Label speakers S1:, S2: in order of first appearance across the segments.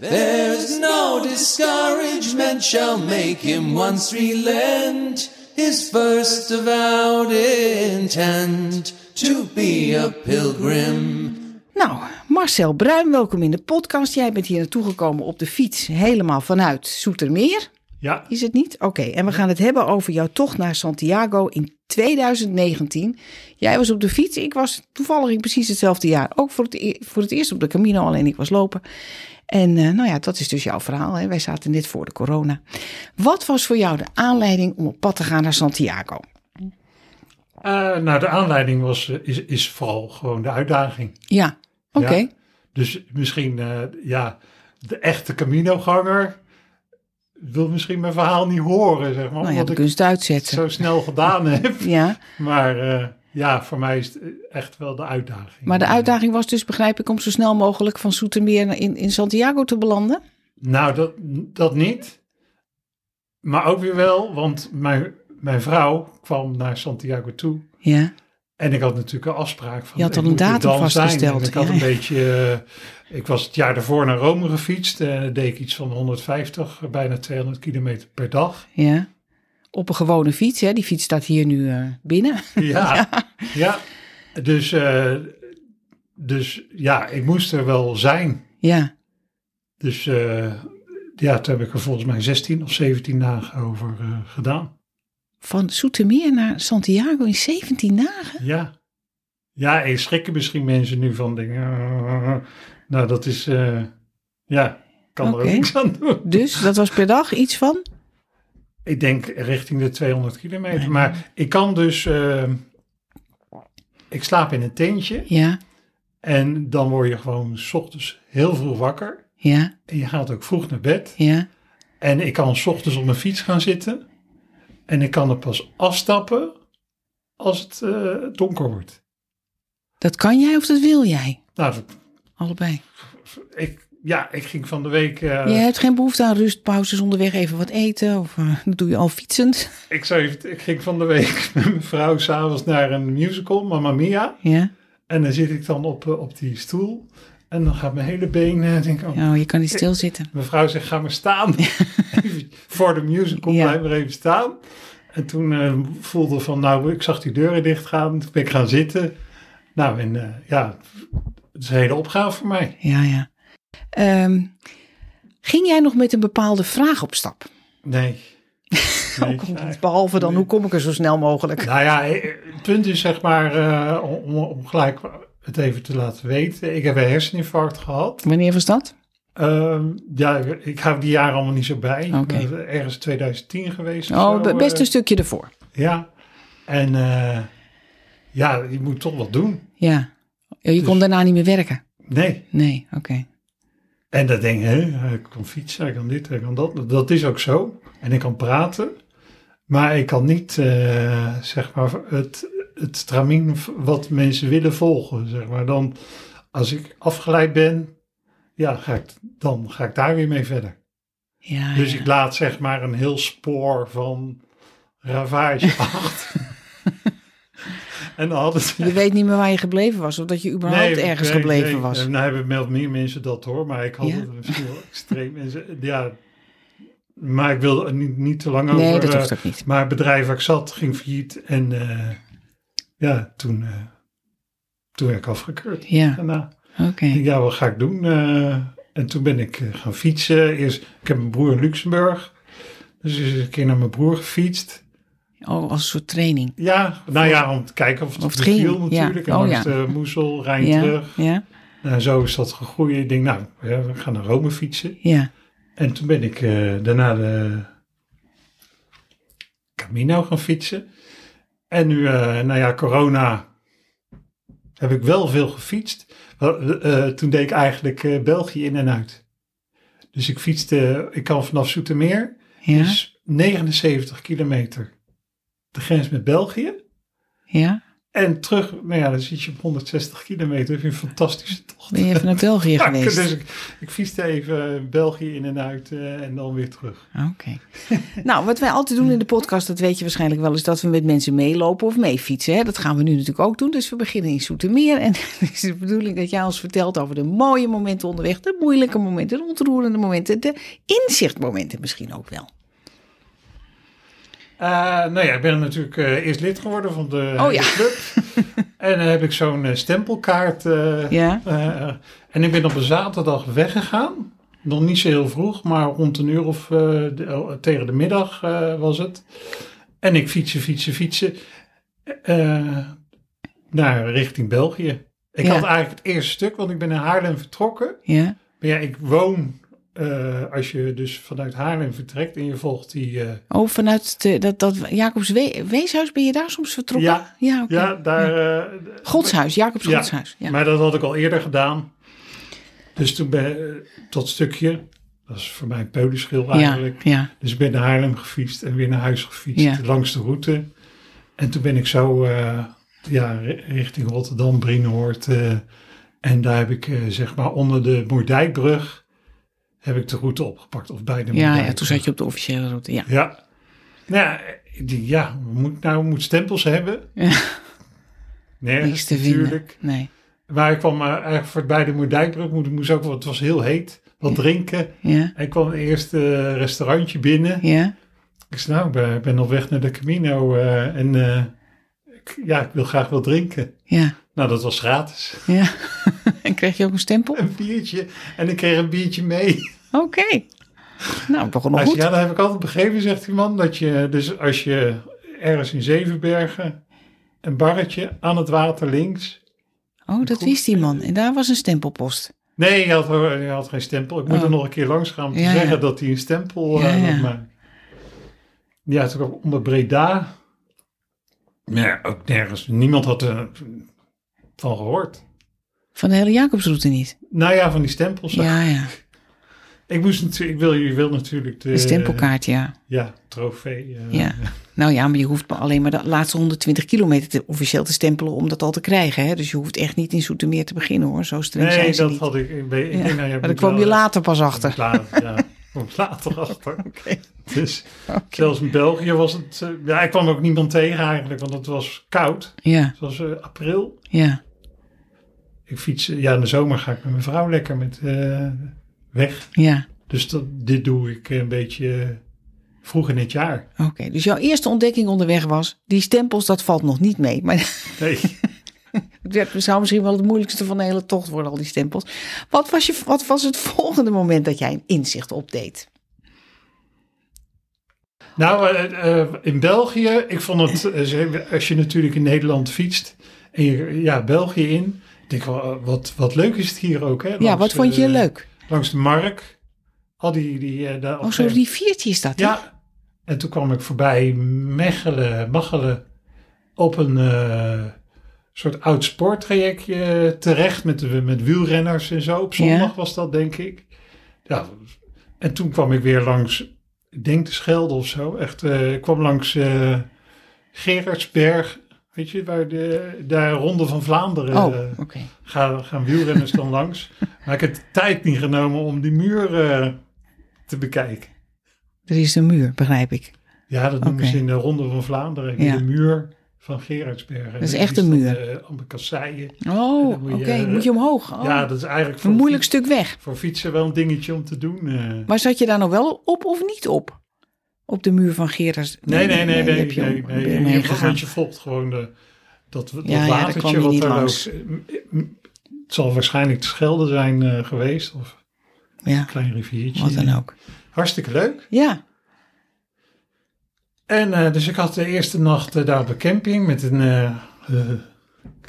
S1: There is no discouragement shall make him once relent his first avowed intent to be a pilgrim.
S2: Nou, Marcel Bruin, welkom in de podcast. Jij bent hier naartoe gekomen op de fiets, helemaal vanuit Soetermeer.
S3: Ja,
S2: Is het niet? Oké, en we gaan het hebben over jouw tocht naar Santiago in 2019. Jij was op de fiets, ik was toevallig in precies hetzelfde jaar. Ook voor het, e- voor het eerst op de Camino, alleen ik was lopen. En eh, nou ja, dat is dus jouw verhaal. Hè? Wij zaten net voor de corona. Wat was voor jou de aanleiding om op pad te gaan naar Santiago?
S3: Eh, nou de aanleiding was, eh, is, is vooral gewoon de uitdaging.
S2: Ja, oké. Nou
S3: Ja. Dus misschien, eh, ja, de echte Camino-ganger wil misschien mijn verhaal niet horen, zeg maar.
S2: nou ja,
S3: omdat
S2: de
S3: ik het
S2: kunst uitzetten.
S3: zo snel gedaan heb.
S2: Ja,
S3: Maar eh, ja, voor mij is het eh, echt wel de uitdaging.
S2: maar de uitdaging was dus, begrijp ik, om zo snel mogelijk van Soetermeer naar- in, in Santiago te belanden.
S3: Nou, dat, dat niet. Maar ook weer wel, want mijn, mijn vrouw kwam naar Santiago toe.
S2: Ja,
S3: En ik had natuurlijk een afspraak van.
S2: Je had
S3: ik
S2: al een
S3: moet er
S2: datum
S3: dan zijn.
S2: vastgesteld,
S3: En Ik had
S2: ja,
S3: een
S2: ja.
S3: beetje. eh, ik was het jaar daarvoor naar Rome gefietst. En deed ik iets van 150, bijna 200 kilometer per dag.
S2: ja. Op een gewone fiets, hè. Die fiets staat hier nu eh, binnen.
S3: Ja. ja. Dus, eh, dus ja, ik moest er wel zijn.
S2: Ja,
S3: Dus eh, ja, toen heb ik er volgens mij 16 of 17 dagen over eh, gedaan.
S2: van Soetermeer naar Santiago in 17 dagen.
S3: Ja. Ja, en schrikken misschien mensen nu van dingen. eh, nou, dat is. eh, ja, kan er
S2: Oké.
S3: ook niks aan doen.
S2: Dus dat was per dag iets van?
S3: Ik denk richting de 200 kilometer. Maar ik kan dus. eh, ik slaap in een tentje.
S2: Ja,
S3: En dan word je gewoon 's ochtends heel vroeg wakker.
S2: ja,
S3: En je gaat ook vroeg naar bed.
S2: ja.
S3: En ik kan 's ochtends op mijn fiets gaan zitten. En ik kan er pas afstappen als het eh, donker wordt.
S2: Dat kan jij of dat wil jij?
S3: Nou, dat-
S2: Allebei.
S3: ik, ja, ik ging van de week. eh,
S2: Je hebt geen behoefte aan rustpauzes onderweg, even wat eten. Of eh, dat doe je al fietsend.
S3: ik, zou even, ik ging van de week met mijn vrouw s'avonds naar een musical, Mamma Mia.
S2: Ja.
S3: En dan zit ik dan op, eh, op die stoel. En dan gaat mijn hele been. eh, Denk, ik, oh,
S2: Oh, je kan niet stilzitten.
S3: Mijn vrouw zegt: Ga maar staan. Even voor de musical,
S2: Ja.
S3: blijf maar even staan. En toen eh, voelde van: Nou, ik zag die deuren dichtgaan. Toen ben ik gaan zitten. Nou, en eh, ja, het is een hele opgave voor mij.
S2: Ja, ja. Ehm, ging jij nog met een bepaalde vraag op stap?
S3: Nee. Nee,
S2: Ook al
S3: ja.
S2: niet, behalve dan,
S3: Nee.
S2: hoe kom ik er zo snel mogelijk?
S3: Nou ja, eh, het punt is zeg maar, eh, om, om gelijk het even te laten weten. Ik heb een herseninfarct gehad.
S2: Wanneer was dat?
S3: Ehm, ja, ik hou die jaren allemaal niet zo bij.
S2: Oké.
S3: Dat is Ergens 2010 geweest. of
S2: Oh,
S3: zo,
S2: be- best
S3: eh,
S2: een stukje ervoor.
S3: Ja, en eh, ja, je moet toch wat doen.
S2: Ja. Je
S3: Dus-
S2: kon daarna niet meer werken.
S3: Nee.
S2: Nee, oké.
S3: En dan denk je, hè, ik kan fietsen, ik kan dit, ik kan dat. Dat is ook zo. En ik kan praten. Maar ik kan niet, eh, zeg maar, het, het stramien wat mensen willen volgen, zeg maar. Dan, als ik afgeleid ben, ja, ga ik, dan ga ik daar weer mee verder.
S2: Ja,
S3: Dus
S2: Ah, ja.
S3: ik laat zeg maar een heel spoor van ravage achter. en dan hadden ze...
S2: Je weet niet meer waar je gebleven was, of dat je überhaupt ergens
S3: nee,
S2: gebleven
S3: nee.
S2: was.
S3: Eh, Nou hebben wel meer mensen dat hoor, maar ik had
S2: Ja?
S3: het misschien wel extreem. En ze- Ja, maar ik wilde er niet, niet te lang
S2: Nee,
S3: over.
S2: dat
S3: eh,
S2: hoeft ook niet.
S3: Maar het bedrijf waar ik zat ging failliet en eh, ja, toen, eh, toen werd ik afgekeurd. eh,
S2: Ja,
S3: Daarna.
S2: oké.
S3: Ik denk, ja, wat ga ik doen? Eh, en toen ben ik eh, gaan fietsen. Eerst, ik heb een broer in Luxemburg. Dus ik is een keer naar mijn broer gefietst.
S2: Oh, als een soort training.
S3: Ja, nou ja, om te kijken of het,
S2: Of het
S3: beviel
S2: ging, ja.
S3: natuurlijk. En
S2: Oh,
S3: langs
S2: ja.
S3: de Moezel, Rijn
S2: Ja,
S3: terug.
S2: ja,
S3: Nou, zo is dat gegroeid. Ik denk, nou, ja, we gaan naar Rome fietsen.
S2: ja.
S3: En toen ben ik eh, daarna de Camino gaan fietsen. En nu, eh, nou ja, corona heb ik wel veel gefietst. Wel, eh, eh, toen deed ik eigenlijk eh, België in en uit. Dus ik fietste, ik kan vanaf Zoetermeer,
S2: Ja,
S3: dus 79 kilometer de grens met België.
S2: ja.
S3: En terug, nou ja, dan zit je op 160 kilometer. Heb je een fantastische tocht.
S2: Ben je even naar België
S3: Ja,
S2: geweest?
S3: dus ik, ik fietste even België in en uit eh, en dan weer terug.
S2: Oké. nou, wat wij altijd doen in de podcast, dat weet je waarschijnlijk wel, is dat we met mensen meelopen of meefietsen. Hè? Dat gaan we nu natuurlijk ook doen. Dus we beginnen in Soetermeer. En het is de bedoeling dat jij ons vertelt over de mooie momenten onderweg, de moeilijke momenten, de ontroerende momenten, de inzichtmomenten misschien ook wel.
S3: Eh, nou ja, ik ben natuurlijk eh, eerst lid geworden van de,
S2: Oh ja.
S3: de club. en dan heb ik zo'n eh, stempelkaart. eh,
S2: Ja.
S3: eh, en ik ben op een zaterdag weggegaan. Nog niet zo heel vroeg, maar rond een uur of eh, de- eh, tegen de middag eh, was het. En ik fietsen, fietsen, fietsen. eh, naar richting België. Ik
S2: Ja.
S3: had eigenlijk het eerste stuk, want ik ben in Haarlem vertrokken.
S2: Ja.
S3: Maar ja, ik woon, eh, als je dus vanuit Haarlem vertrekt en je volgt die... eh,
S2: Oh, vanuit de, dat, dat Jacobs We- Weeshuis ben je daar soms vertrokken?
S3: Ja.
S2: Ja, oké.
S3: ja, daar... eh,
S2: Godshuis, Jacobs
S3: Ja.
S2: Godshuis. Ja.
S3: Maar dat had ik al eerder gedaan. Dus toen ben eh, dat stukje, dat is voor mij een peulenschil
S2: Ja,
S3: eigenlijk.
S2: ja,
S3: Dus ik ben naar Haarlem gefietst en weer naar huis gefietst,
S2: Ja.
S3: langs de route. En toen ben ik zo eh, ja, ri- richting Rotterdam, Brienhoort. eh, en daar heb ik eh, zeg maar onder de Moerdijkbrug, heb ik de route opgepakt. Of bij de
S2: ja, ja,
S3: Moerdijkbrug.
S2: toen zat je op de officiële route. Ja.
S3: Ja. Nou ja, ik denk, ja, we moet, nou, we moeten stempels hebben.
S2: Ja.
S3: Nergens
S2: Niks te vinden.
S3: natuurlijk.
S2: Nee.
S3: Maar ik kwam eh, eigenlijk voor bij de Moerdijkbrug, moest, moest ook, want het was heel heet, wat drinken.
S2: Ja.
S3: En ik kwam het eerste eh, restaurantje binnen.
S2: Ja.
S3: Ik zei, nou, ik ben- ik ben op weg naar de Camino eh, en eh, ik- ja, ik wil graag wat drinken.
S2: Ja.
S3: Nou, dat was gratis.
S2: Ja. en kreeg je ook een stempel?
S3: Een biertje. En ik kreeg een biertje mee.
S2: Oké. Nou, begon nog
S3: Hij zei,
S2: goed.
S3: ja, dat heb ik altijd begrepen, zegt die man. Dat je, dus als je ergens in Zevenbergen een barretje aan het water links.
S2: Oh, dat wist die man. En daar was een stempelpost.
S3: Nee, je had, je had geen stempel. Ik moet
S2: Oh.
S3: er nog een keer langs gaan om te
S2: Ja,
S3: zeggen
S2: ja.
S3: dat hij een stempel
S2: Ja,
S3: eh,
S2: ja.
S3: moet maken. Ja, toen kwam ik onder Breda. Nee, ook nergens. Niemand had er van gehoord.
S2: Van de hele Jacobsroute niet.
S3: Nou ja, van die stempels.
S2: Ja, ja.
S3: Ik moest natuurlijk, ik wil, je wil natuurlijk de...
S2: Een stempelkaart, ja.
S3: Ja, trofee. eh,
S2: ja. Nou ja, maar je hoeft maar alleen maar de laatste 120 kilometer te, officieel te stempelen om dat al te krijgen. Hè? Dus je hoeft echt niet in Soetermeer te beginnen hoor. Zo streng
S3: Nee,
S2: zijn ze
S3: dat
S2: niet.
S3: had ik. ik, ben, ik
S2: Ja.
S3: denk, nou,
S2: maar daar kwam je later pas achter.
S3: Later, ja, kwam ik later achter.
S2: Oké.
S3: Dus zelfs in België was het. eh, ja, ik kwam ook niemand tegen eigenlijk, want het was koud.
S2: Ja,
S3: Het was eh, april.
S2: ja.
S3: Ik fiets. eh, Ja, in de zomer ga ik met mijn vrouw lekker met, eh, weg.
S2: Ja,
S3: Dus dat, dit doe ik een beetje eh, vroeg in het jaar.
S2: oké. Dus jouw eerste ontdekking onderweg was, die stempels, dat valt nog niet mee. Maar
S3: Nee.
S2: het werd, zou misschien wel het moeilijkste van de hele tocht worden, al die stempels. Wat was, je, wat was het volgende moment dat jij een inzicht opdeed?
S3: Nou, eh, eh, in België, ik vond het, eh, ze- als je natuurlijk in Nederland fietst en je, ja, België in, ik denk wel, eh, wat, wat leuk is het hier ook, hè?
S2: Ja,
S3: langs
S2: wat
S3: de-
S2: vond je leuk?
S3: Langs de Mark, al die, die eh, daar
S2: Oh,
S3: op-
S2: zo'n riviertje is dat, hè?
S3: Ja, en toen kwam ik voorbij Mechelen, Machelen, op een eh, soort oud spoortrajectje terecht met, de- met wielrenners en zo. Op zondag
S2: Ja.
S3: was dat, denk ik. Ja, en toen kwam ik weer langs, ik denk de Schelde of zo. Echt, eh, ik kwam langs eh Gerardsberg, weet je, waar de, daar Ronde van Vlaanderen
S2: Oh,
S3: eh,
S2: oké.
S3: gaan, gaan wielrenners dan langs. Maar ik heb de tijd niet genomen om die muur eh, te bekijken.
S2: Er is een muur, begrijp ik.
S3: Ja, dat noemen
S2: Oké.
S3: ze in de Ronde van Vlaanderen. heb je
S2: Ja.
S3: De muur van Gerardsbergen.
S2: Dat is echt een muur.
S3: Uh, kasseien.
S2: Oh,
S3: dan
S2: oké.
S3: moet je, eh,
S2: Moet je omhoog? Oh,
S3: Ja, dat is eigenlijk voor,
S2: een moeilijk stuk weg.
S3: fiets- voor fietsen wel een dingetje om te doen. eh.
S2: Maar zat je daar nou wel op of niet op? Op de muur van Gerards?
S3: nee, nee, nee,
S2: daar
S3: nee.
S2: heb je
S3: nee,
S2: om-
S3: nee,
S2: ben je
S3: Je-
S2: omheen gegaan.
S3: Want je volgt gewoon de, dat, dat
S2: Ja, ja, daar kwam
S3: watertje
S2: je
S3: wat
S2: niet
S3: daar
S2: langs.
S3: loopt. M- m- Het zal waarschijnlijk de Schelde zijn eh, geweest. Of een
S2: Ja,
S3: klein riviertje.
S2: wat dan ook.
S3: Hartstikke leuk.
S2: Ja,
S3: En eh, dus ik had de eerste nacht eh, daar op de camping met een, eh, eh,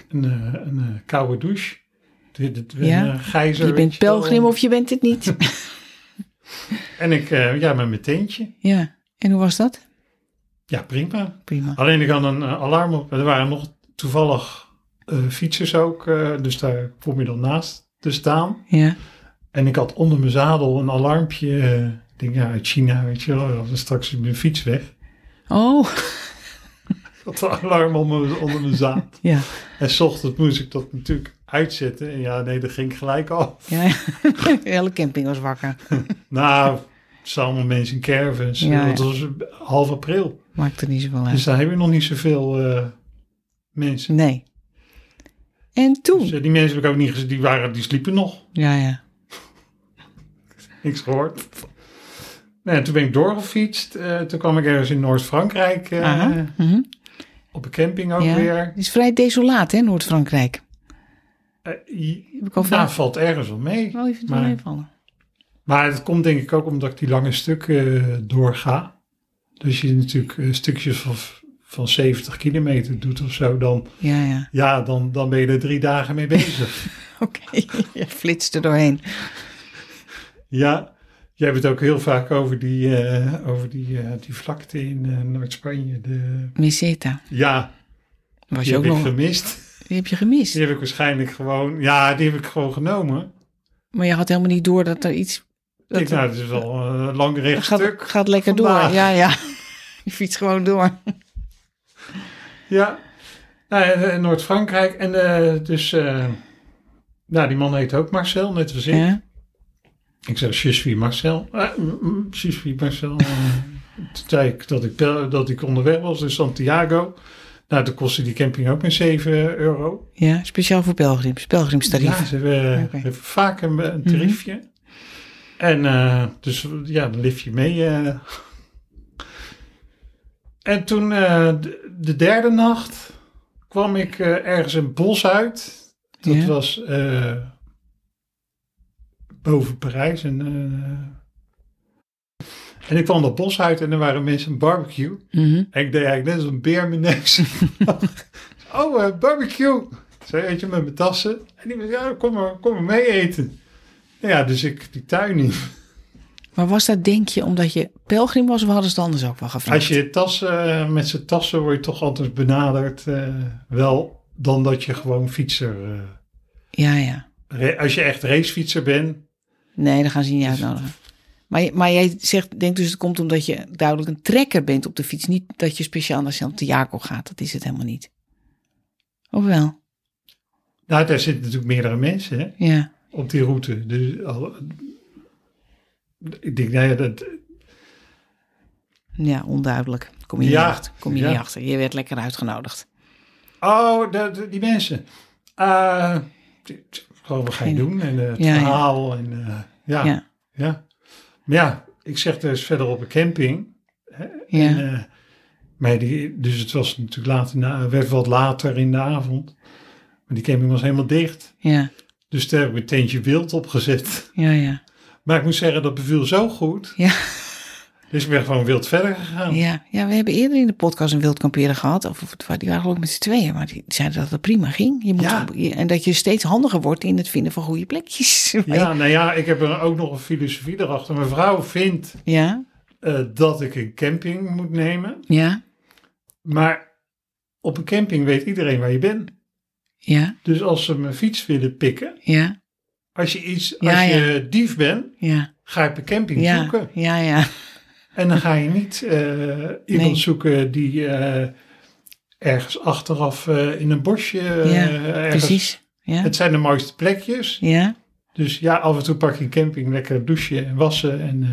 S3: een, eh, een eh, koude douche. Dit- dit-
S2: Ja,
S3: een, eh, gijzer,
S2: je
S3: weet
S2: bent
S3: je wel.
S2: pelgrim of je bent het niet.
S3: En ik, eh, ja, met mijn teentje.
S2: ja, en hoe was dat?
S3: Ja, prima.
S2: Prima.
S3: Alleen ik had een eh, alarm op. Er waren nog toevallig eh, fietsers ook. eh, dus daar kom je dan naast te staan.
S2: Ja,
S3: En ik had onder mijn zadel een alarmpje. eh, ik denk, ja, uit China, weet je wel. Dan is straks mijn fiets weg.
S2: oh,
S3: had de alarm onder, mijn- onder mijn zaad.
S2: Ja,
S3: En s ochtends moest ik dat natuurlijk uitzetten. En ja, nee, dat ging gelijk af.
S2: ja. de hele camping was wakker.
S3: Nou, samen mensen in caravans.
S2: Ja,
S3: dat
S2: ja.
S3: was half april.
S2: Maakt er niet zoveel uit.
S3: Dus daar heb je nog niet zoveel eh, mensen.
S2: Nee. En
S3: Dus,
S2: toen?
S3: eh, die mensen heb ik ook niet gezien. Die, waren, die sliepen nog.
S2: Ja, ja.
S3: Niks gehoord. Nou, ja, toen ben ik doorgefietst. Eh, toen kwam ik ergens in Noord-Frankrijk eh,
S2: Aha. Mhm.
S3: op een camping ook
S2: ja.
S3: weer.
S2: Het is vrij desolaat, hè, Noord-Frankrijk.
S3: Eh, i-
S2: Heb ik al
S3: nou,
S2: vaak.
S3: valt ergens wel mee.
S2: wel even
S3: maar-
S2: doorheen
S3: Maar dat komt denk ik ook omdat ik die lange stukken eh, doorga. Dus je natuurlijk eh, stukjes van, van 70 kilometer doet of zo, dan,
S2: Ja, ja.
S3: ja, dan, dan ben je er drie dagen mee bezig.
S2: Oké. je flitst er doorheen.
S3: ja, je hebt het ook heel vaak over die, eh, over die, eh, die vlakte in eh, Noord-Spanje. De-
S2: Miseta.
S3: Ja,
S2: Was
S3: die
S2: je ook
S3: heb ik
S2: nog...
S3: gemist.
S2: Die heb je gemist.
S3: Die heb ik waarschijnlijk gewoon, ja, die heb ik gewoon genomen.
S2: Maar je had helemaal niet door dat er iets...
S3: Ik
S2: Dat
S3: denk, nou, het is wel een lang recht
S2: gaat,
S3: stuk.
S2: gaat lekker
S3: vandaag.
S2: door. Ja, ja. Je fietst gewoon door.
S3: Ja, nou, eh, eh, Noord-Frankrijk. En eh, dus, eh, nou, die man heet ook Marcel, net als ik.
S2: Ja.
S3: Ik zei, je suis Marcel. Ah, mm, mm, je suis Marcel. Eh, Toen zei ik dat ik, bel- dat ik onderweg was, dus Santiago. Nou, toen kostte die camping ook maar 7 euro.
S2: ja, speciaal voor pelgrims. Pelgrimstarief.
S3: Ja, ze hebben,
S2: Oké. Mhm.
S3: hebben vaak een, een tariefje. En eh, dus ja, dan lift je mee. eh. En toen eh, de, de derde nacht kwam ik eh, ergens een bos uit. Dat
S2: Ja.
S3: was eh, boven Parijs. En, eh, en ik kwam dat bos uit en er waren mensen een barbecue.
S2: Mhm.
S3: En ik deed eigenlijk net als een beer mijn neus. oh, eh, barbecue. Zo eet je met mijn tassen. En die was, ja, kom maar, kom maar mee eten. Nou ja, dus ik die tuin in.
S2: Maar was dat denk je omdat je pelgrim was of hadden ze het anders ook wel gevraagd?
S3: Als je tassen, eh, met z'n tassen word je toch anders benaderd. eh, wel dan dat je gewoon fietser. eh,
S2: Ja, ja.
S3: ra- als je echt racefietser bent.
S2: Nee, dan gaan ze je niet
S3: Dus-
S2: uitnodigen. Maar, je- maar jij zegt, denk dus het komt omdat je duidelijk een trekker bent op de fiets. Niet dat je speciaal naar Santiago gaat. Dat is het helemaal niet. Of wel?
S3: Nou, daar zitten natuurlijk meerdere mensen hè,
S2: Ja.
S3: op die route. Dus al- ik denk, nou ja, dat,
S2: Ja, onduidelijk. Kom je,
S3: Ja.
S2: niet, achter. Kom je
S3: Ja.
S2: niet achter. Je werd lekker uitgenodigd.
S3: Oh, de, de- die mensen. Eh, t- t- Gewoon wat ga je
S2: Geen-
S3: doen en eh, het
S2: Ja, ja.
S3: verhaal. En, eh, ja, ja.
S2: Ja.
S3: Maar ja, ik zeg dus verder op een camping.
S2: Ja.
S3: En, eh, maar die, dus het was natuurlijk later, na, werd wat later in de avond. Maar die camping was helemaal dicht.
S2: Ja.
S3: Dus daar heb ik een teentje wild opgezet.
S2: Ja, ja.
S3: Maar ik moet zeggen, dat beviel zo goed.
S2: Ja.
S3: Dus ik ben gewoon wild verder gegaan.
S2: Ja, ja, we hebben eerder in de podcast een wildkamperen gehad. Of, of- die waren geloof ik met z'n tweeën, maar die zeiden dat het prima ging. Je moet
S3: Ja.
S2: je- en dat je steeds handiger wordt in het vinden van goede plekjes.
S3: Ja, nou ja, ik heb er ook nog een filosofie erachter. Mijn vrouw vindt
S2: ja,
S3: eh, dat ik een camping moet nemen.
S2: ja,
S3: Maar op een camping weet iedereen waar je bent.
S2: ja,
S3: Dus als ze mijn fiets willen pikken,
S2: ja,
S3: als je, iets,
S2: Ja,
S3: als
S2: ja.
S3: je dief bent,
S2: ja,
S3: ga je op een camping
S2: ja,
S3: zoeken.
S2: ja, ja,
S3: En dan ga je niet eh, iemand
S2: Nee.
S3: zoeken die eh, ergens achteraf eh, in een bosje. eh,
S2: Ja,
S3: ergens,
S2: precies. Ja,
S3: Het zijn de mooiste plekjes.
S2: ja,
S3: Dus ja, af en toe pak je een camping lekker douchen en wassen. En eh,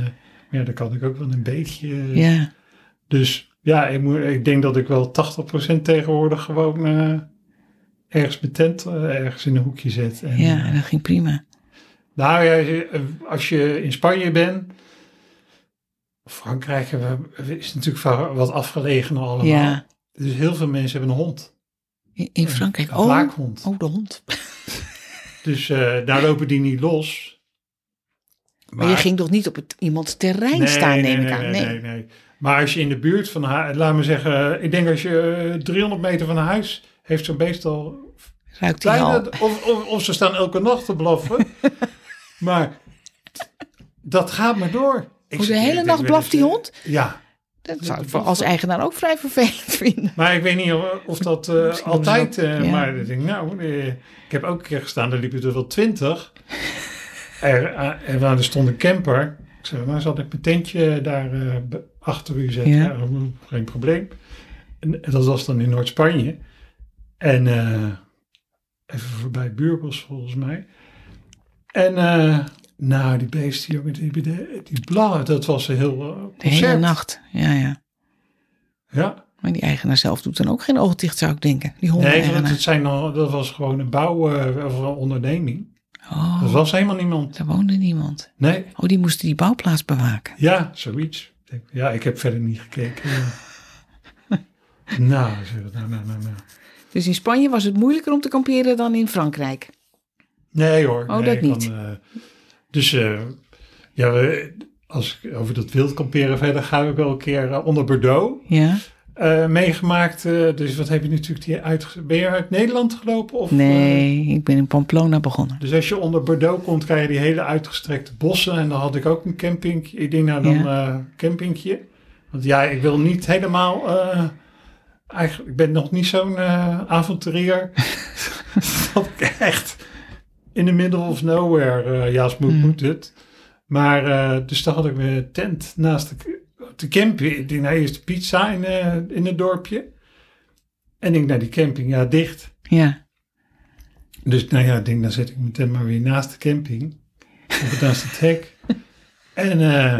S3: ja, dat kan ik ook wel een beetje. eh,
S2: ja,
S3: Dus ja, ik, moet, ik denk dat ik wel 80% tegenwoordig gewoon eh, ergens mijn tent eh, ergens in een hoekje zet. En,
S2: ja,
S3: eh,
S2: en dat ging prima.
S3: nou ja, als je- als je in Spanje bent, Frankrijk hebben we- is natuurlijk va- wat afgelegen allemaal.
S2: Ja,
S3: Dus heel veel mensen hebben een hond.
S2: in, in Frankrijk.
S3: Een
S2: Oh,
S3: waakhond.
S2: oh, de hond. Maar,
S3: Dus eh, daar lopen die niet los.
S2: je ging toch niet op het, iemands terrein
S3: Nee,
S2: staan,
S3: nee,
S2: neem ik
S3: nee,
S2: aan? Nee,
S3: Nee, nee, nee. Maar als je in de buurt van haar, laat me zeggen, ik denk als je eh, 300 meter van haar huis heeft zo'n beest al
S2: ruikt hij
S3: Bijna,
S2: al.
S3: of, of, of ze staan elke nacht te blaffen. maar dat gaat maar door. Ik
S2: Oh, de
S3: zit-
S2: hele
S3: ik denk
S2: nacht
S3: wel
S2: blaft
S3: eens,
S2: die
S3: eh,
S2: hond?
S3: Ja,
S2: Dat zou ik voor als eigenaar ook vrij vervelend vinden.
S3: maar ik weet niet of, of dat eh, altijd... eh,
S2: ja.
S3: Maar ik denk, nou, eh, ik heb ook een keer gestaan, daar liepen er wel twintig. er, eh, er, waren- er stond een camper. Ik zei, maar zal ik mijn tentje daar eh, be- achter u zetten?
S2: Ja.
S3: Ja, geen probleem. En dat was dan in Noord-Spanje. En eh, even voorbij Buurbos volgens mij. En eh, nou, die beesten, jongen, die, die, die blauwe, dat was een heel eh,
S2: De hele
S3: concert.
S2: nacht. Ja, ja.
S3: Ja.
S2: Maar die eigenaar zelf doet dan ook geen oog dicht, zou ik denken. Die honden
S3: Nee, want het zijn al, dat was gewoon een bouw eh, of een onderneming. Dat
S2: Oh,
S3: was helemaal niemand.
S2: daar woonde niemand.
S3: Nee,
S2: Oh, die moesten die bouwplaats bewaken.
S3: ja, zoiets. Ik denk, Ja, ik heb verder niet gekeken. Ja. nou, zeg, nou, nou, nou, nou.
S2: Dus in Spanje was het moeilijker om te kamperen dan in Frankrijk.
S3: Nee hoor.
S2: Oh,
S3: nee,
S2: dat
S3: dan,
S2: niet.
S3: eh, dus eh, ja, we- als ik over dat wild kamperen verder ga, heb ik wel een keer eh, onder Bordeaux
S2: Ja?
S3: eh, meegemaakt. eh, dus wat heb je natuurlijk die uit... Ben je uit Nederland gelopen? Of, eh,
S2: Nee, ik ben in Pamplona begonnen.
S3: Dus als je onder Bordeaux komt, krijg je die hele uitgestrekte bossen. En dan had ik ook een camping. Ik denk nou dan eh, campingje. Want ja, ik wil niet helemaal. eh, eigenlijk, ik ben nog niet zo'n eh, avonturier. dat ik echt in the middle of nowhere. eh, ja, als moet,
S2: Hmm.
S3: moet het. Maar eh, dus dan had ik mijn tent naast de, de camping. Ik denk, nou, eerst de pizza in, eh, in het dorpje. En ik naar die camping, ja, dicht.
S2: Ja.
S3: Dus nou ja, ik denk, dan zet ik mijn tent maar weer naast de camping. Of naast het hek. En eh,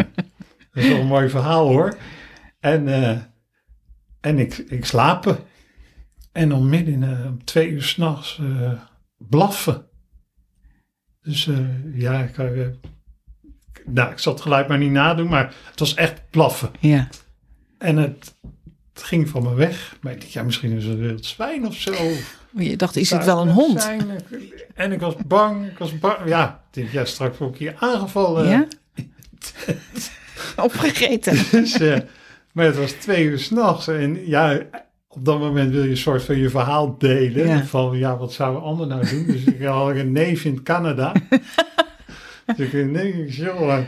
S3: dat is wel een mooi verhaal hoor. En, eh, en ik, ik slapen. En om midden in, eh, om twee uur s'nachts eh blaffen. Dus eh, ja, ik, eh, nou, ik zal het geluid maar niet nadoen, maar het was echt blaffen.
S2: Ja.
S3: En het, het ging van me weg. Maar ik dacht, ja, misschien is het een wild zwijn of zo.
S2: Maar Je dacht, is het wel een hond?
S3: Zijn. En ik was bang, ik was bang. Ja, ik denk, ja straks word ik hier aangevallen.
S2: Ja?
S3: eh,
S2: Opgegeten.
S3: Dus, eh, maar het was twee uur s'nachts. En ja, op dat moment wil je een soort van je verhaal delen.
S2: Ja.
S3: Van, ja, wat zou een ander nou doen? Dus ik had een neef in Canada. dus ik denk, nee, ik zeg, joh,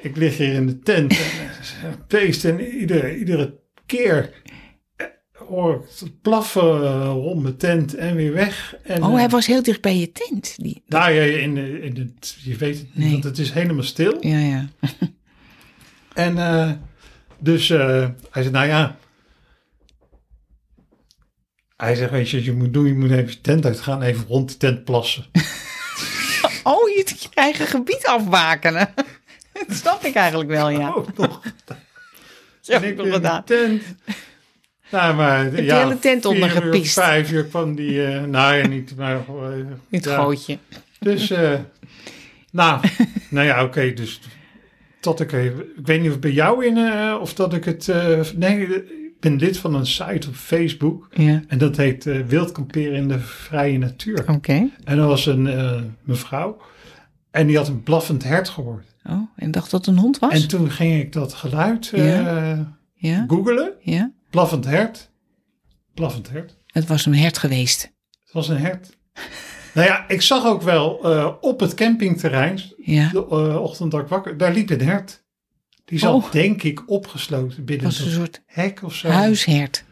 S3: ik lig hier in de tent. En, eh, Beest en iedere, iedere keer eh, hoor ik het plaffen eh, rond mijn tent en weer weg. En,
S2: Oh,
S3: eh,
S2: hij was heel dicht bij je tent. Die.
S3: Nou ja, in, de- in het, je weet het niet,
S2: Nee.
S3: want het is helemaal stil.
S2: Ja, ja.
S3: En eh, dus eh, hij zegt, nou ja. Hij zegt, weet je, wat je moet doen, je moet even je tent uitgaan, even rond de tent plassen.
S2: Oh, je je eigen gebied afbakenen. Dat snap ik eigenlijk wel, ja.
S3: Ook nog.
S2: Dat heb ik nog gedaan.
S3: de tent. Nou, maar
S2: de hele tent
S3: vier
S2: ondergepiest.
S3: Uur, vijf uur kwam die, eh, nou ja, niet, maar... eh,
S2: In het
S3: ja.
S2: gootje.
S3: Dus, eh, nou, nou ja, oké, dus dat ik even, ik weet niet of het bij jou in, eh, of dat ik het, eh, nee, ik ben lid van een site op Facebook
S2: Ja.
S3: en dat heet eh, Wild kamperen in de vrije natuur.
S2: Oké.
S3: En er was een eh, mevrouw en die had een blaffend hert gehoord.
S2: Oh, en dacht dat het een hond was?
S3: En toen ging ik dat geluid eh
S2: ja,
S3: googelen,
S2: ja.
S3: blaffend hert, blaffend hert.
S2: Het was een hert geweest.
S3: Het was een hert. Nou ja, ik zag ook wel eh, op het campingterrein
S2: Ja.
S3: de eh, ochtend dat ik wakker, daar liep een hert. Die zat
S2: Oh.
S3: denk ik opgesloten
S2: Het
S3: binnen
S2: was een
S3: een
S2: soort
S3: hek of zo.
S2: huishert.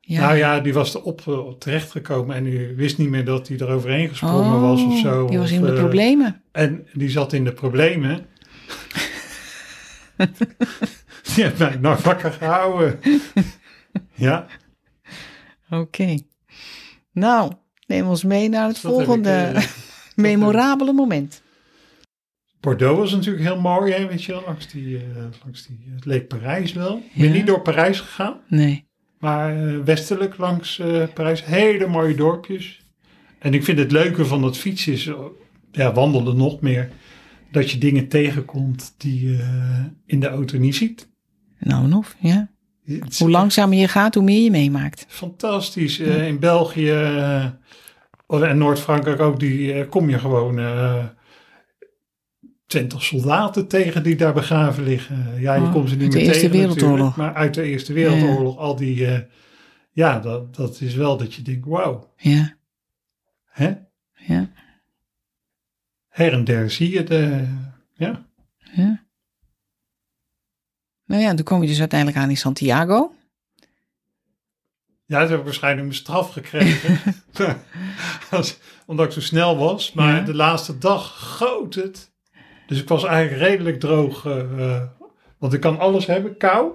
S2: Ja.
S3: Nou ja, die was er op, eh, terechtgekomen en die wist niet meer dat hij er overheen gesprongen
S2: Oh,
S3: was of zo.
S2: Die was
S3: Of,
S2: in de
S3: eh,
S2: problemen.
S3: En die zat in de problemen. die heeft mij nog wakker gehouden. ja,
S2: Oké. Nou, neem ons mee naar het
S3: dat heb ik,
S2: volgende
S3: eh,
S2: memorabele moment.
S3: Bordeaux was natuurlijk heel mooi, hè, weet je wel, langs die, eh, langs die, het leek Parijs wel. Ik ben
S2: Ja.
S3: niet door Parijs gegaan.
S2: Nee.
S3: Maar eh, westelijk langs eh, Parijs, hele mooie dorpjes. En ik vind het leuke van dat fietsen is, eh, ja, wandelen nog meer, dat je dingen tegenkomt die je eh, in de auto niet ziet.
S2: Nou en of, ja.
S3: Het is
S2: Hoe langzamer je gaat, hoe meer je meemaakt.
S3: Fantastisch. Eh, in België eh, en Noord-Frankrijk ook, die eh, kom je gewoon eh, twintig soldaten tegen die daar begraven liggen. Ja, je
S2: Oh,
S3: komt ze niet
S2: uit de
S3: meer
S2: Eerste
S3: tegen
S2: Wereldoorlog.
S3: natuurlijk, maar uit de Eerste Wereldoorlog, al die... eh, ja, dat, dat is wel dat je denkt, wauw,
S2: Ja,
S3: hè?
S2: ja,
S3: her en der zie je de. Ja.
S2: ja. Nou ja, toen kom je dus uiteindelijk aan in Santiago.
S3: Ja, ze hebben waarschijnlijk mijn straf gekregen. Als- Omdat ik zo snel was. Maar
S2: Ja.
S3: de laatste dag goot het. Dus ik was eigenlijk redelijk droog. eh, eh, want ik kan alles hebben. Kou.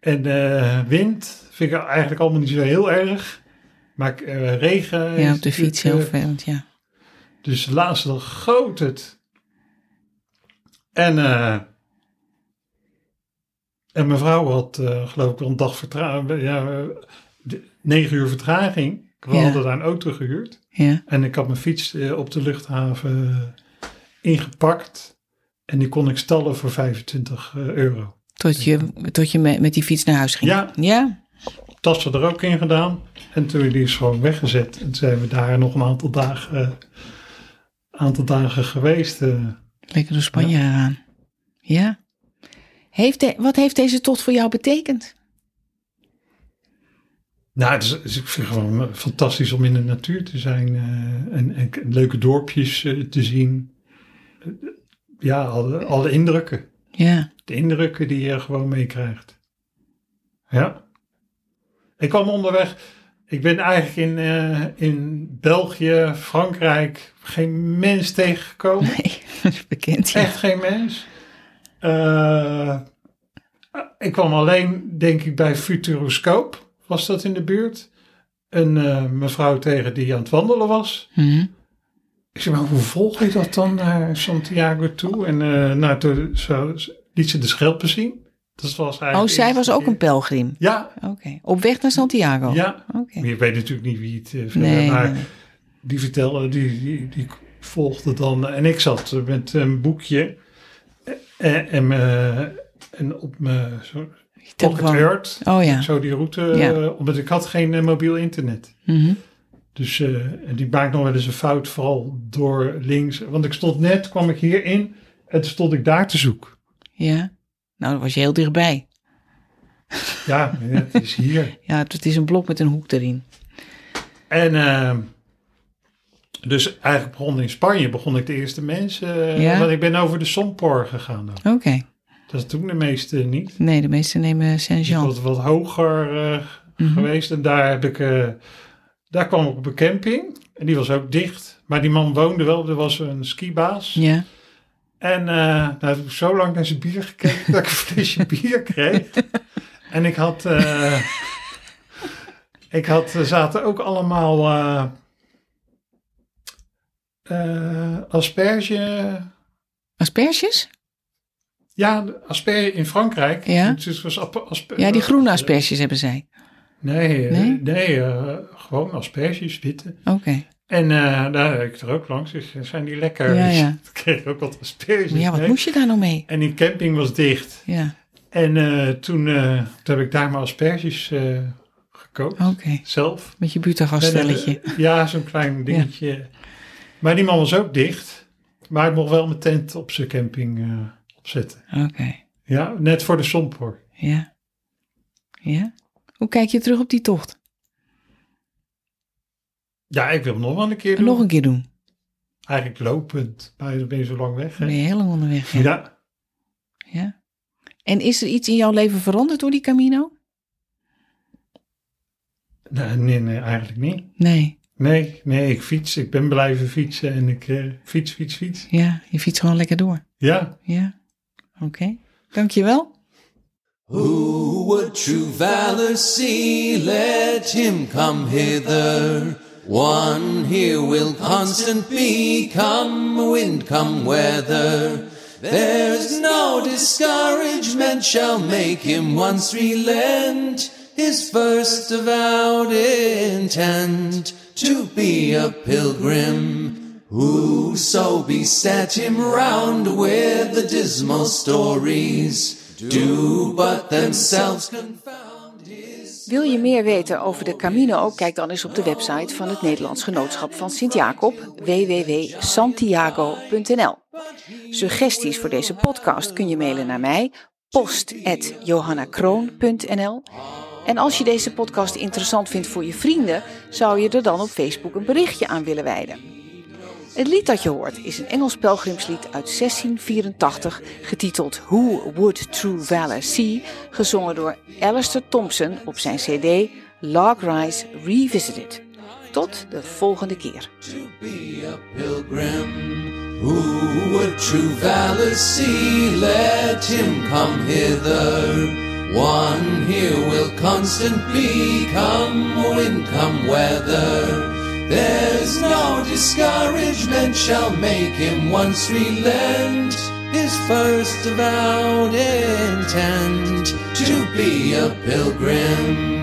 S3: En eh, wind vind ik eigenlijk allemaal niet zo heel erg. Maar eh, regen.
S2: Ja,
S3: is
S2: op de fiets heel
S3: natuurlijk, eh,
S2: vervelend, ja.
S3: Dus laatst dan goot het. En, eh, en mijn vrouw had, eh, geloof ik, wel een dag vertraging. Ja, eh, de- negen uur vertraging. We
S2: Ja.
S3: hadden daar een auto gehuurd.
S2: Ja,
S3: En ik had mijn fiets eh, op de luchthaven ingepakt. En die kon ik stallen voor 25 euro.
S2: tot je, tot je me- met die fiets naar huis ging.
S3: Ja.
S2: Ja,
S3: Tassen er ook in gedaan. En toen die is gewoon weggezet. En toen zijn we daar nog een aantal dagen, eh, aantal dagen geweest. eh.
S2: lekker door Spanje gegaan. Ja. Heeft de- wat heeft deze tocht voor jou betekend?
S3: Nou, het is, het is- ik vind het gewoon eh, fantastisch om in de natuur te zijn eh, en, en k- leuke dorpjes eh, te zien. Eh, Ja, alle, alle indrukken.
S2: Ja,
S3: De indrukken die je gewoon meekrijgt. Ja. Ik kwam onderweg. Ik ben eigenlijk in, eh, in België, Frankrijk geen mens tegengekomen.
S2: nee, dat is bekend. Ja.
S3: Echt geen mens. Eh, ik kwam alleen, denk ik, bij Futuroscope. Was dat in de buurt? Een eh, mevrouw tegen die aan het wandelen was.
S2: Mhm.
S3: Ik zei, maar hoe volg je dat dan naar Santiago toe? En eh nou, toen zo, liet ze de schelpen zien. Dat was
S2: Oh,
S3: eigenlijk
S2: zij
S3: de
S2: was
S3: eerste
S2: ook een
S3: keer.
S2: pelgrim.
S3: Ja,
S2: Oké, op weg naar Santiago.
S3: ja.
S2: Oké.
S3: Maar Je weet natuurlijk niet wie het... eh, vertelde,
S2: Nee,
S3: maar
S2: nee, nee.
S3: die vertelde, die, die, die volgde dan. En ik zat met een boekje en, en, me- en op mijn zo-
S2: Die
S3: pocket
S2: telefoon.
S3: earth.
S2: Oh ja.
S3: Zo die route,
S2: Ja.
S3: eh, omdat ik had geen eh, mobiel internet.
S2: Mhm.
S3: Dus eh, en die maakt nog wel eens een fout, vooral door links. Want ik stond net, kwam ik hierin en toen stond ik daar te zoeken.
S2: Ja. Nou, dan was je heel dichtbij.
S3: Ja, het is hier.
S2: Ja, het is een blok met een hoek erin.
S3: En eh, dus eigenlijk begon in Spanje, begon ik de eerste mensen. eh,
S2: Ja.
S3: Want ik ben over de Sompor gegaan. ook.
S2: Oké.
S3: Dat doen de meesten niet.
S2: Nee, de meesten nemen
S3: Ik
S2: Saint-Jean.
S3: was wat hoger eh,
S2: Mhm.
S3: geweest. En daar, heb ik, eh, daar kwam ik op een camping. En die was ook dicht. Maar die man woonde wel. Er was een skibaas.
S2: Ja.
S3: En eh nou, heb ik zo lang naar zijn bier gekeken dat ik een flesje bier kreeg. En ik had... eh, ik had, er zaten ook allemaal eh, eh, asperge...
S2: Asperges?
S3: Ja, asperge in Frankrijk.
S2: Ja.
S3: Dus het was ap- asper-
S2: Ja, die groene asperges hebben zij.
S3: Nee, eh,
S2: Nee?
S3: nee? eh, gewoon asperges, witte.
S2: Oké.
S3: En eh daar heb ik er ook langs, dus zijn die lekker.
S2: Ja, ja.
S3: Ik kreeg ook wat asperges.
S2: Maar ja, wat
S3: mee.
S2: moest je daar nou mee?
S3: En die camping was dicht.
S2: Ja.
S3: En eh, toen, eh, toen heb ik daar maar asperges eh, gekookt,
S2: Oké.
S3: zelf.
S2: Met je butagaststelletje.
S3: En, eh, ja, zo'n klein dingetje. Maar die man was ook dicht. Maar ik mocht wel mijn tent op zijn camping eh, opzetten.
S2: Oké.
S3: Ja, net voor de Sompor.
S2: Ja. Ja. Hoe kijk je terug op die tocht?
S3: Ja, ik wil hem nog wel een keer doen.
S2: Nog een keer doen.
S3: Eigenlijk lopend, maar dan ben je zo lang weg.
S2: Dan
S3: Hè?
S2: ben je heel lang onderweg. Ja.
S3: ja.
S2: Ja. En is er iets in jouw leven veranderd door die Camino?
S3: Nee, nee, nee, eigenlijk niet.
S2: Nee.
S3: Nee, nee, ik fiets. Ik ben blijven fietsen en ik eh, fiets, fiets, fiets.
S2: Ja, je fietst gewoon lekker door.
S3: Ja,
S2: Ja. Oké. Dankjewel.
S1: Who would true valor see? Let him come hither. One here will constant be, come wind, come weather. There's no discouragement shall make him once relent his first avowed intent to be a pilgrim. Whoso beset him round with the dismal stories do but themselves confound his.
S2: Wil je meer weten over de Camino? Kijk dan eens op de website van het Nederlands Genootschap van Sint-Jacob, www.santiago.nl. Suggesties voor deze podcast kun je mailen naar mij, post.johannakroon.nl. En als je deze podcast interessant vindt voor je vrienden, zou je er dan op Facebook een berichtje aan willen wijden. Het lied dat je hoort is een Engels pelgrimslied uit 1684, getiteld Who Would True Valor See, gezongen door Alistair Thompson op zijn cd Log Rise Revisited. Tot de volgende keer.
S1: to be a pilgrim. Who would true valor see? Let him come hither. One here will constant be, come wind, come weather. There's no discouragement shall make him once relent his first avowed intent to be a pilgrim.